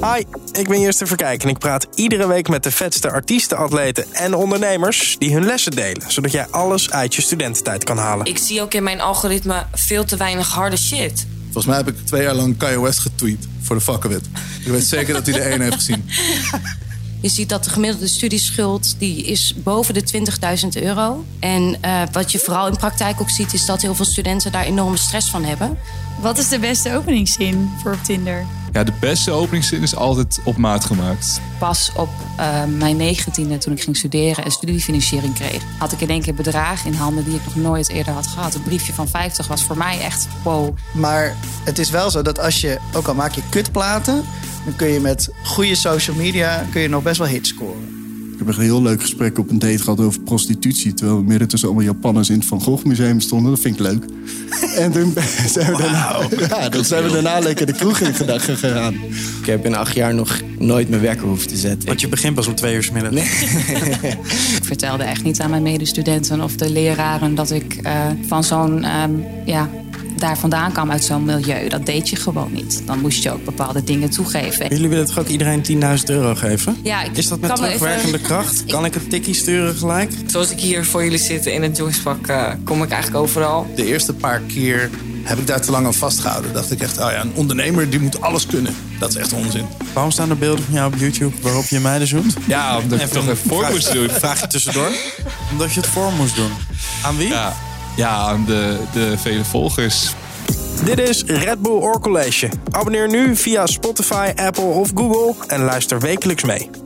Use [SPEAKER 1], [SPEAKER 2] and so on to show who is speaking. [SPEAKER 1] Hi, ik ben Justin Verkijk en ik praat iedere week met de vetste artiesten, atleten en ondernemers die hun lessen delen, zodat jij alles uit je studententijd kan halen.
[SPEAKER 2] Ik zie ook in mijn algoritme veel te weinig harde shit.
[SPEAKER 3] Volgens mij heb ik twee jaar lang Kanye West getweet voor de fuck of it. Ik weet zeker dat hij de één heeft gezien.
[SPEAKER 4] Je ziet dat de gemiddelde studieschuld die is boven de 20.000 euro. En eh, wat je vooral in praktijk ook ziet, is dat heel veel studenten daar enorme stress van hebben.
[SPEAKER 5] Wat is de beste openingszin voor op Tinder?
[SPEAKER 6] Ja, de beste openingszin is altijd op maat gemaakt.
[SPEAKER 7] Pas op eh, mijn negentiende, toen ik ging studeren en studiefinanciering kreeg, had ik in één keer bedrag in handen die ik nog nooit eerder had gehad. Een briefje van 50 was voor mij echt wow.
[SPEAKER 8] Maar het is wel zo dat als je, ook al maak je kutplaten, dan kun je met goede social media kun je nog best wel hits scoren.
[SPEAKER 3] Ik heb echt een heel leuk gesprek op een date gehad over prostitutie. Terwijl we midden tussen allemaal Japanners in het Van Gogh Museum stonden. Dat vind ik leuk. En toen zijn we daarna, ja, dan zijn we daarna lekker de kroeg in gedag- gegaan.
[SPEAKER 9] Ik heb in acht jaar nog nooit mijn wekker hoeven te zetten.
[SPEAKER 1] Want je begint pas om twee uur 's middags.
[SPEAKER 7] Ik vertelde echt niet aan mijn medestudenten of de leraren dat ik eh, van zo'n, ehm, ja, daar vandaan kwam uit zo'n milieu. Dat deed je gewoon niet. Dan moest je ook bepaalde dingen toegeven.
[SPEAKER 1] Jullie willen toch ook iedereen 10.000 euro geven?
[SPEAKER 7] Ja, ik
[SPEAKER 1] Is dat met
[SPEAKER 7] kan me
[SPEAKER 1] terugwerkende
[SPEAKER 7] even-
[SPEAKER 1] kracht? Kan ik een tikkie sturen gelijk?
[SPEAKER 2] Zoals ik hier voor jullie zit in het jongensvak, eh, kom ik eigenlijk overal.
[SPEAKER 3] De eerste paar keer heb ik daar te lang aan vastgehouden. Dacht ik echt, oh ja, een ondernemer die moet alles kunnen. Dat is echt onzin.
[SPEAKER 1] Waarom staan er beelden van jou op YouTube waarop je meiden zoent?
[SPEAKER 6] Ja, omdat ik toch even voor moest doen.
[SPEAKER 1] Vraag je tussendoor? Omdat je het voor moest doen. Aan wie?
[SPEAKER 6] Ja, ja aan de, de vele volgers.
[SPEAKER 1] Dit is Red Bull Oor College. Abonneer nu via Spotify, Apple of Google en luister wekelijks mee.